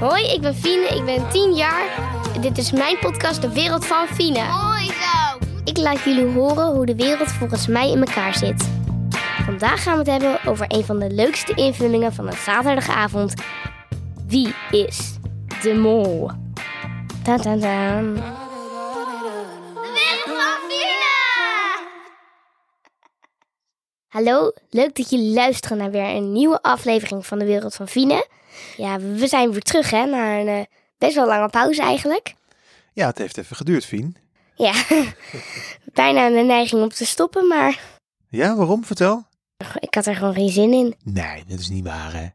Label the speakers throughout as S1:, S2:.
S1: Hoi, ik ben Fine, ik ben 10 jaar. Dit is mijn podcast De Wereld van Fine.
S2: Mooi zo.
S1: Ik laat jullie horen hoe de wereld volgens mij in elkaar zit. Vandaag gaan we het hebben over een van de leukste invullingen van een zaterdagavond. Wie is de mol? Daan, daan, daan.
S2: De wereld van Fina.
S1: Hallo, leuk dat jullie luisteren naar weer een nieuwe aflevering van de Wereld van Fine. Ja, we zijn weer terug hè, na een eh, best wel lange pauze eigenlijk.
S3: Ja, het heeft even geduurd, Fien.
S1: Ja, bijna de neiging om te stoppen, maar
S3: Ja, waarom? Vertel.
S1: ik had er gewoon geen zin in.
S3: Nee, dat is niet waar, hè?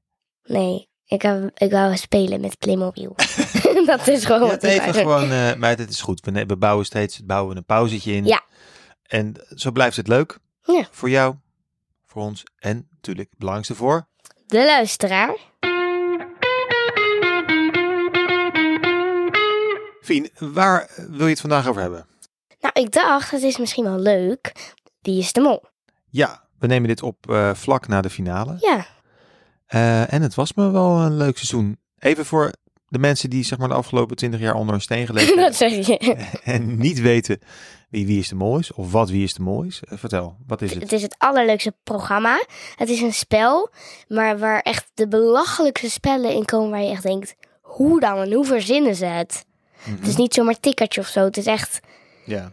S1: Nee, ik, wou- ik wou spelen met Playmobil. dat Oh, is gewoon
S3: Ja,
S1: wat
S3: het
S1: ik
S3: even
S1: wou.
S3: gewoon, eh meid, het is goed. We, ne- we bouwen steeds bouwen we een pauzetje in.
S1: Ja.
S3: En zo blijft het leuk.
S1: Ja.
S3: Voor jou, voor ons en natuurlijk het belangrijkste voor.
S1: De luisteraar.
S3: Fien, waar eh, wil je het vandaag over hebben?
S1: Nou, ik dacht, het is misschien wel leuk. Wie is de mol?
S3: Ja, we nemen dit op eh, vlak na de finale.
S1: Ja,
S3: Eh, en het was me wel een leuk seizoen. Even voor de mensen die zeg maar, de afgelopen 20 jaar onder een steen gelegen hebben.
S1: dat zeg je.
S3: en niet weten wie Wie is de Mol is of wat Wie is de Mol is. Eh, vertel, wat is het?
S1: Het is het allerleukste programma. Het is een spel, maar waar echt de belachelijkste spellen in komen waar je echt denkt, hoe dan en hoe verzinnen ze het? Het is niet zomaar tikkertje of zo. Het is echt
S3: Mhm. Ja.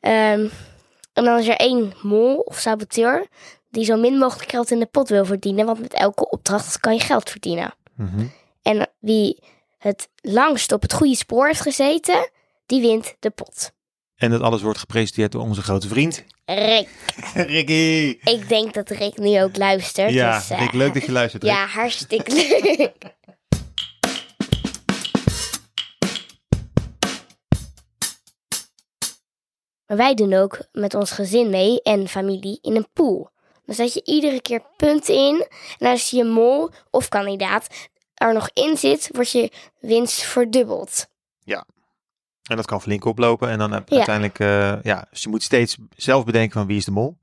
S1: Ehm, en dan is er één mol of saboteur die zo min mogelijk geld in de pot wil verdienen, want met elke opdracht kan je geld verdienen.
S3: Mhm.
S1: En wie het langst op het goede spoor heeft gezeten, die wint de pot.
S3: En dat alles wordt gepresenteerd door onze grote vriend.
S1: Rick.
S3: Ricky!
S1: Ik denk dat Rick nu ook luistert.
S3: Ja,
S1: dus, eh,
S3: Rick, leuk dat je luistert. Rick.
S1: Ja, hartstikke leuk. Maar wij doen ook met ons gezin mee en familie in een pool. Dan zet je iedere keer punten in. En als je mol of kandidaat er nog in zit, wordt je winst verdubbeld.
S3: En dat kan flink oplopen. En dan heb-
S1: Ja.
S3: uiteindelijk, eh, ja, dus je moet steeds zelf bedenken van wie is de mol.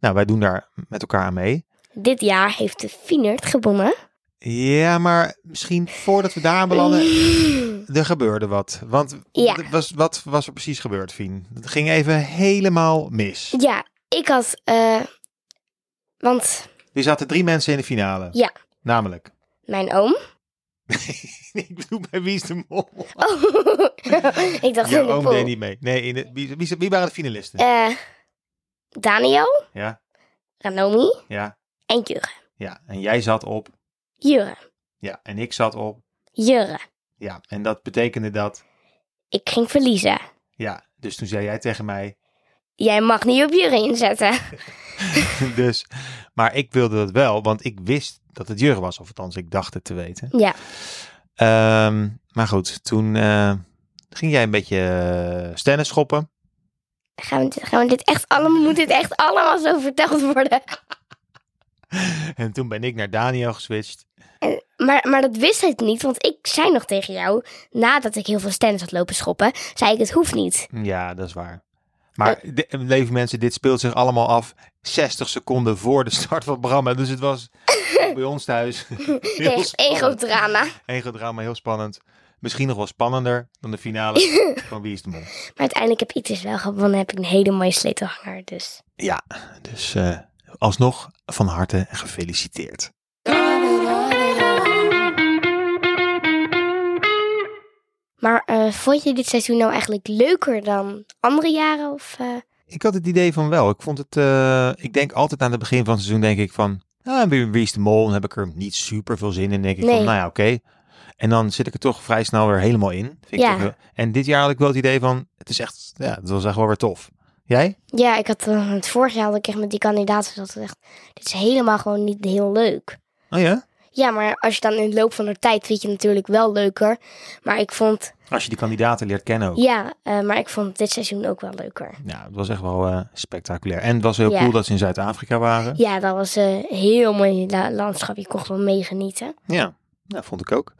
S3: Nou, wij doen daar met elkaar aan mee.
S1: Dit jaar heeft de Fienert gewonnen.
S3: Ja, maar misschien voordat we daar belanden, er gebeurde wat. Want
S1: Ja.
S3: er was, wat was er precies gebeurd, Fien? Het ging even helemaal mis.
S1: Ja, ik had. eh, want
S3: Er zaten drie mensen in de finale.
S1: Ja.
S3: Namelijk.
S1: mijn oom.
S3: ik bedoel, bij Wie is de Mol?
S1: Oh, ik dacht in
S3: Jouw
S1: de
S3: oom
S1: pool.
S3: deed niet mee. Nee, in de, wie, wie, wie waren de finalisten?
S1: Eh, Daniel,
S3: Ja,
S1: Ranomi
S3: ja,
S1: en Jure.
S3: ja. En jij zat op.
S1: Jure,
S3: Ja, en ik zat op.
S1: Jure.
S3: Ja, en dat betekende dat.
S1: Ik ging verliezen.
S3: Ja, dus toen zei jij tegen mij.
S1: Jij mag niet op Jure inzetten.
S3: dus, maar ik wilde dat wel, want ik wist dat het Jurgen was. Of althans, ik dacht het te weten.
S1: Ja,
S3: Ehm, maar goed, toen eh, ging jij een beetje eh, stennis schoppen.
S1: gaan we, dit- gaan we dit echt allemaal, moet dit echt allemaal zo verteld worden?
S3: en toen ben ik naar Daniel geswitcht.
S1: Maar, maar dat wist hij niet, want ik zei nog tegen jou, nadat ik heel veel stands had lopen schoppen, zei ik het hoeft niet.
S3: Ja, dat is waar. Maar de- lieve mensen, dit speelt zich allemaal af 60 seconden voor de start van het programma. Dus het was bij ons thuis heel
S1: Echt één groot
S3: spannend.
S1: drama.
S3: Eén groot drama, heel spannend. Misschien nog wel spannender dan de finale van Wie is de Mol.
S1: Maar uiteindelijk heb ik dus wel gewonnen, heb ik een hele mooie sleutelhanger. Dus
S3: Ja, dus eh, alsnog van harte gefeliciteerd.
S1: Maar eh, vond je dit seizoen nou eigenlijk leuker dan andere jaren? Of, eh,
S3: Ik had het idee van wel. Ik vond het, eh, ik denk altijd aan het begin van het seizoen, denk ik van, ah, wie, wie is de mol? Dan heb ik er niet super veel zin in. denk ik
S1: Nee.
S3: van, nou ja, oké. En dan zit ik er toch vrij snel weer helemaal in. Vind
S1: Ja.
S3: ik toch wel- en dit jaar had ik wel het idee van, het is echt, ja, het was echt wel weer tof. Jij?
S1: Ja, ik had eh, het vorig jaar had ik echt met die kandidaten dat echt, dit is helemaal gewoon niet heel leuk.
S3: Oh ja?
S1: Ja, maar als je dan in de loop van de tijd vind je het natuurlijk wel leuker. Maar ik vond,
S3: Als je die kandidaten leert kennen ook.
S1: ja, eh, maar ik vond dit seizoen ook wel leuker.
S3: Nou, het was echt wel eh, spectaculair. En het was heel
S1: Ja.
S3: cool dat ze in Zuid-Afrika waren.
S1: Ja, dat was een heel mooi la- landschap. Je kon wel meegenieten.
S3: Ja, nou, vond ik ook.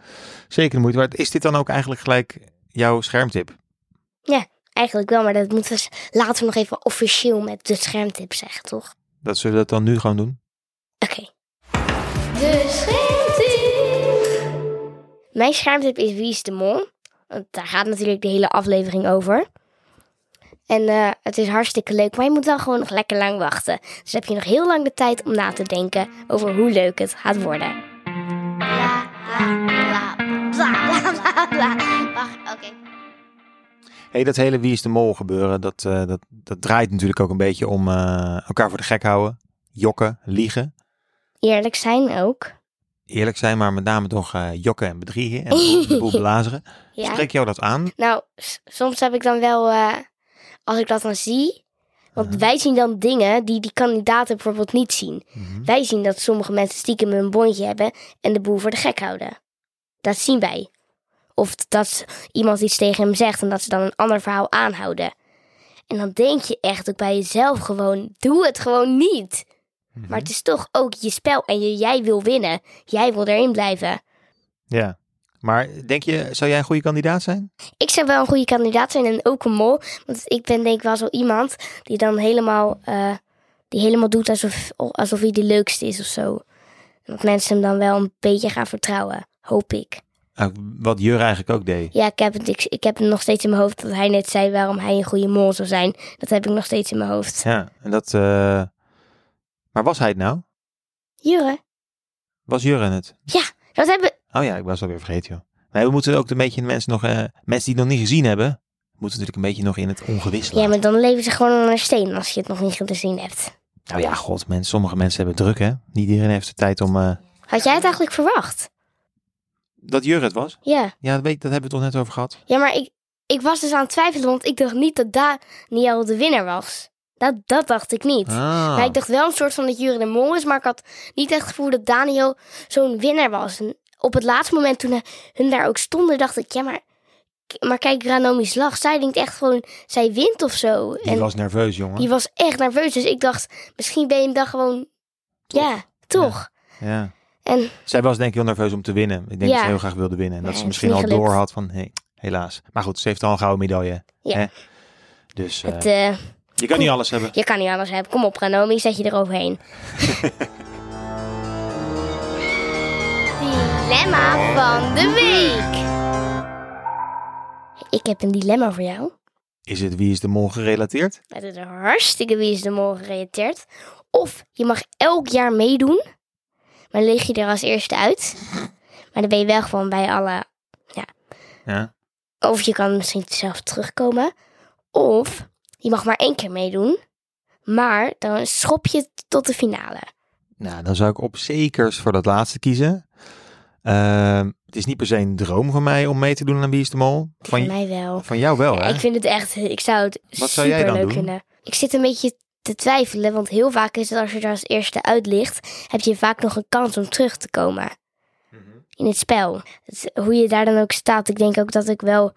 S3: Zeker de moeite waard. Is dit dan ook eigenlijk gelijk jouw schermtip?
S1: Eigenlijk wel, maar dat moeten we s- later nog even officieel met de schermtip zeggen, toch?
S3: Dat zullen we dat dan nu gewoon doen?
S1: Oké.
S2: De schildtip.
S1: Mijn schermtip is Wie is de Mol? Want daar gaat natuurlijk de hele aflevering over. En eh, het is hartstikke leuk, maar je moet dan gewoon nog lekker lang wachten. Dus heb je nog heel lang de tijd om na te denken over hoe leuk het gaat worden.
S2: Bla, bla, bla, bla, bla, bla, bla. Wacht, oké.
S3: Hey, dat hele Wie is de Mol gebeuren, dat, eh, dat, dat draait natuurlijk ook een beetje om eh, elkaar voor de gek houden. Jokken, liegen.
S1: Eerlijk zijn ook.
S3: Eerlijk zijn, maar met name toch eh, jokken en bedriegen. En de boel- de boel belazeren.
S1: Ja.
S3: Spreek jou dat aan?
S1: Nou, s- soms heb ik dan wel, eh, als ik dat dan zie. Want wij zien dan dingen die die kandidaten bijvoorbeeld niet zien.
S3: Mhm.
S1: Wij zien dat sommige mensen stiekem een bondje hebben en de boel voor de gek houden. Dat zien wij. Of dat s- iemand iets tegen hem zegt en dat ze dan een ander verhaal aanhouden. En dan denk je echt ook bij jezelf gewoon, doe het gewoon niet.
S3: Mhm.
S1: Maar het is toch ook je spel en je, jij wil winnen. Jij wil erin blijven.
S3: Ja. Maar denk je, zou jij een goede kandidaat zijn?
S1: Ik zou wel een goede kandidaat zijn en ook een mol. Want ik ben denk ik wel zo iemand die dan helemaal, eh, die helemaal doet alsof, alsof hij de leukste is of zo. En dat mensen hem dan wel een beetje gaan vertrouwen, hoop ik.
S3: Eh, wat Jur eigenlijk ook deed.
S1: Ja, ik heb, het, ik, ik heb het nog steeds in mijn hoofd dat hij net zei waarom hij een goede mol zou zijn. Dat heb ik nog steeds in mijn hoofd.
S3: Ja. En dat, eh, Maar was hij het nou?
S1: Jure,
S3: Was Jurren het?
S1: dat hebben...
S3: Oh ja, ik was alweer vergeten, joh. Nee, we moeten ook een beetje de mensen nog... eh, mensen die het nog niet gezien hebben... moeten natuurlijk een beetje nog in het ongewis
S1: Ja,
S3: laten.
S1: maar dan leven ze gewoon onder een steen als je het nog niet gezien hebt.
S3: Nou ja, god, mensen, sommige mensen hebben het druk, hè? Niet iedereen heeft de tijd om... eh,
S1: Had jij het eigenlijk verwacht?
S3: Dat Jur het was?
S1: Ja.
S3: Ja, dat, weet, dat hebben we het toch net over gehad?
S1: Ja, maar ik, ik was dus aan het twijfelen, want ik dacht niet dat Daniel de winnaar was. Dat, dat dacht ik niet.
S3: Ah.
S1: Maar ik dacht wel een soort van dat Jure de mol is, maar ik had niet echt het gevoel dat Daniel zo'n winnaar was. En op het laatste moment toen hij- hun daar ook stonden, dacht ik, ja, maar, maar kijk, Ranomi's lach. Zij denkt echt gewoon, zij wint of zo.
S3: Die was nerveus, jongen.
S1: die was echt nerveus, dus ik dacht, misschien ben je hem dan gewoon,
S3: Toch?
S1: ja, toch.
S3: Ja.
S1: En-
S3: Zij was denk ik heel nerveus om te winnen. Ik denk
S1: Ja.
S3: dat ze heel graag wilde winnen. En dat
S1: Nee,
S3: ze
S1: het is
S3: misschien al
S1: niet gelukt.
S3: door had van, hey, helaas. Maar goed, ze heeft al een gouden medaille.
S1: Ja.
S3: hè? Dus eh,
S1: Het, eh,
S3: je kan niet alles hebben.
S1: je kan niet anders hebben. Kom op, Ranomi, zet je eroverheen.
S2: Dilemma van de week.
S1: Ik heb een dilemma voor jou.
S3: Is het Wie is de Mol gerelateerd?
S1: Het is hartstikke Wie is de Mol gerelateerd. Of je mag elk jaar meedoen, maar dan lig je er als eerste uit. Maar dan ben je wel gewoon bij alle...
S3: Ja.
S1: Of je kan misschien zelf terugkomen. Of je mag maar één keer meedoen, maar dan schop je tot de finale.
S3: Nou, dan zou ik op zekers voor dat laatste kiezen. Ehm, het is niet per se een droom van mij om mee te doen aan Wie is de Mol.
S1: Voor
S3: Van,
S1: mij wel.
S3: van jou wel,
S1: Ja,
S3: Oh, hè?
S1: ik vind het echt... Ik zou het
S3: Wat zou jij
S1: super
S3: dan
S1: leuk
S3: doen?
S1: vinden. Ik zit een beetje te twijfelen, want heel vaak is het als je er als eerste uit ligt... heb je vaak nog een kans om terug te komen.
S3: Mhm.
S1: in het spel. Het- hoe je daar dan ook staat, ik denk ook dat ik wel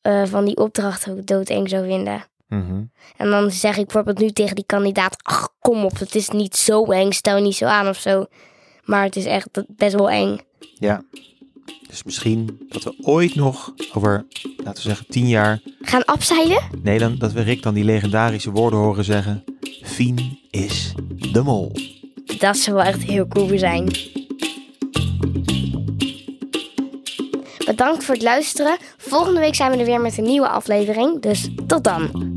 S1: eh, van die opdracht ook doodeng zou vinden.
S3: Mhm.
S1: En dan zeg ik bijvoorbeeld nu tegen die kandidaat: Ach, kom op, het is niet zo eng, stel je niet zo aan of zo. Maar het is echt best wel eng.
S3: Ja. Dus misschien dat we ooit nog over, laten we zeggen, tien jaar
S1: Gaan afzeilen?
S3: Nee, dan, dat we Rick dan die legendarische woorden horen zeggen. Fien is de mol.
S1: Dat zou wel echt heel cool zijn. Bedankt voor het luisteren. Volgende week zijn we er weer met een nieuwe aflevering. Dus tot dan.